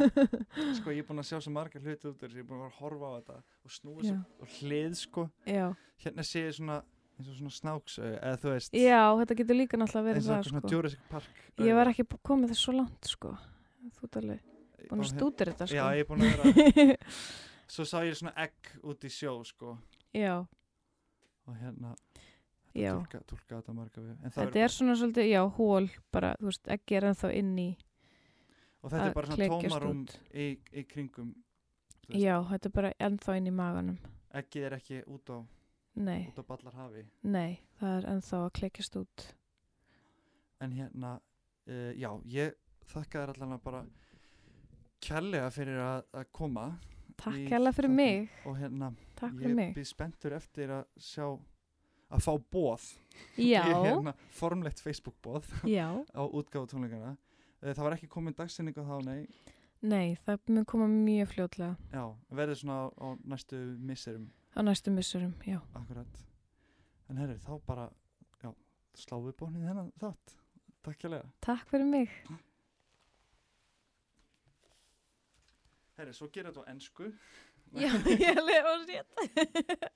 S1: sko ég er búin að sjá svo margar hluti út úr þessu, ég er búin að vera að horfa á þetta og snúa
S2: *laughs* já,
S1: þessu og hlið sko
S2: já.
S1: hérna sé ég svona eins og svona snáksauð eða þú veist
S2: já, þetta getur líka náttúrulega
S1: eins og
S2: verið það
S1: eitthvað svona
S2: sko.
S1: Jurassic Park
S2: ég var ekki bú- komið þess svo langt sko þú ert alveg búin að stútir þetta
S1: hérna-
S2: sko
S1: já ég er búin að vera svo sá ég svona egg út í sjó sko
S2: *laughs* já,
S1: og hérna
S2: já
S1: Túlka, túlka þetta marga við En það
S2: Þetta er svona svolítið, já, hól bara, þú veist, ekki er ennþá inn í
S1: bara, og þetta er
S2: að
S1: bara svona
S2: klekjast
S1: tómarúm
S2: út.
S1: í, í kringum Þú veist.
S2: Já, þetta er bara ennþá inn í maganum
S1: ekki er ekki út á,
S2: Nei,
S1: út á ballarhafi
S2: nei, það er ennþá að klekjast út
S1: en hérna, uh, já ég þakka þér allan að bara kærlega fyrir að, að koma
S2: Takk
S1: Í
S2: hérlega fyrir
S1: þarna.
S2: mig
S1: og hérna,
S2: Takk fyrir
S1: ég
S2: mig
S1: býð spenntur eftir að sjá að fá bóð
S2: Já,
S1: ég, *laughs* hérna, formlegt Facebook bóð
S2: já,
S1: á útgáfu tónleikana uh, það var ekki komin dagsinningu þá, nei
S2: nei, það mun koma mjög fljótlega
S1: já, verður svona á, á næstu misserum
S2: á næstu missurum, já
S1: Akkurat. En herri, þá bara, já, sláum við bónið hennan þátt. Takk hérlega.
S2: Takk fyrir
S1: *laughs*
S2: mig
S1: Herri, svo gerir þetta á ennsku.
S2: Já, ég lefa sér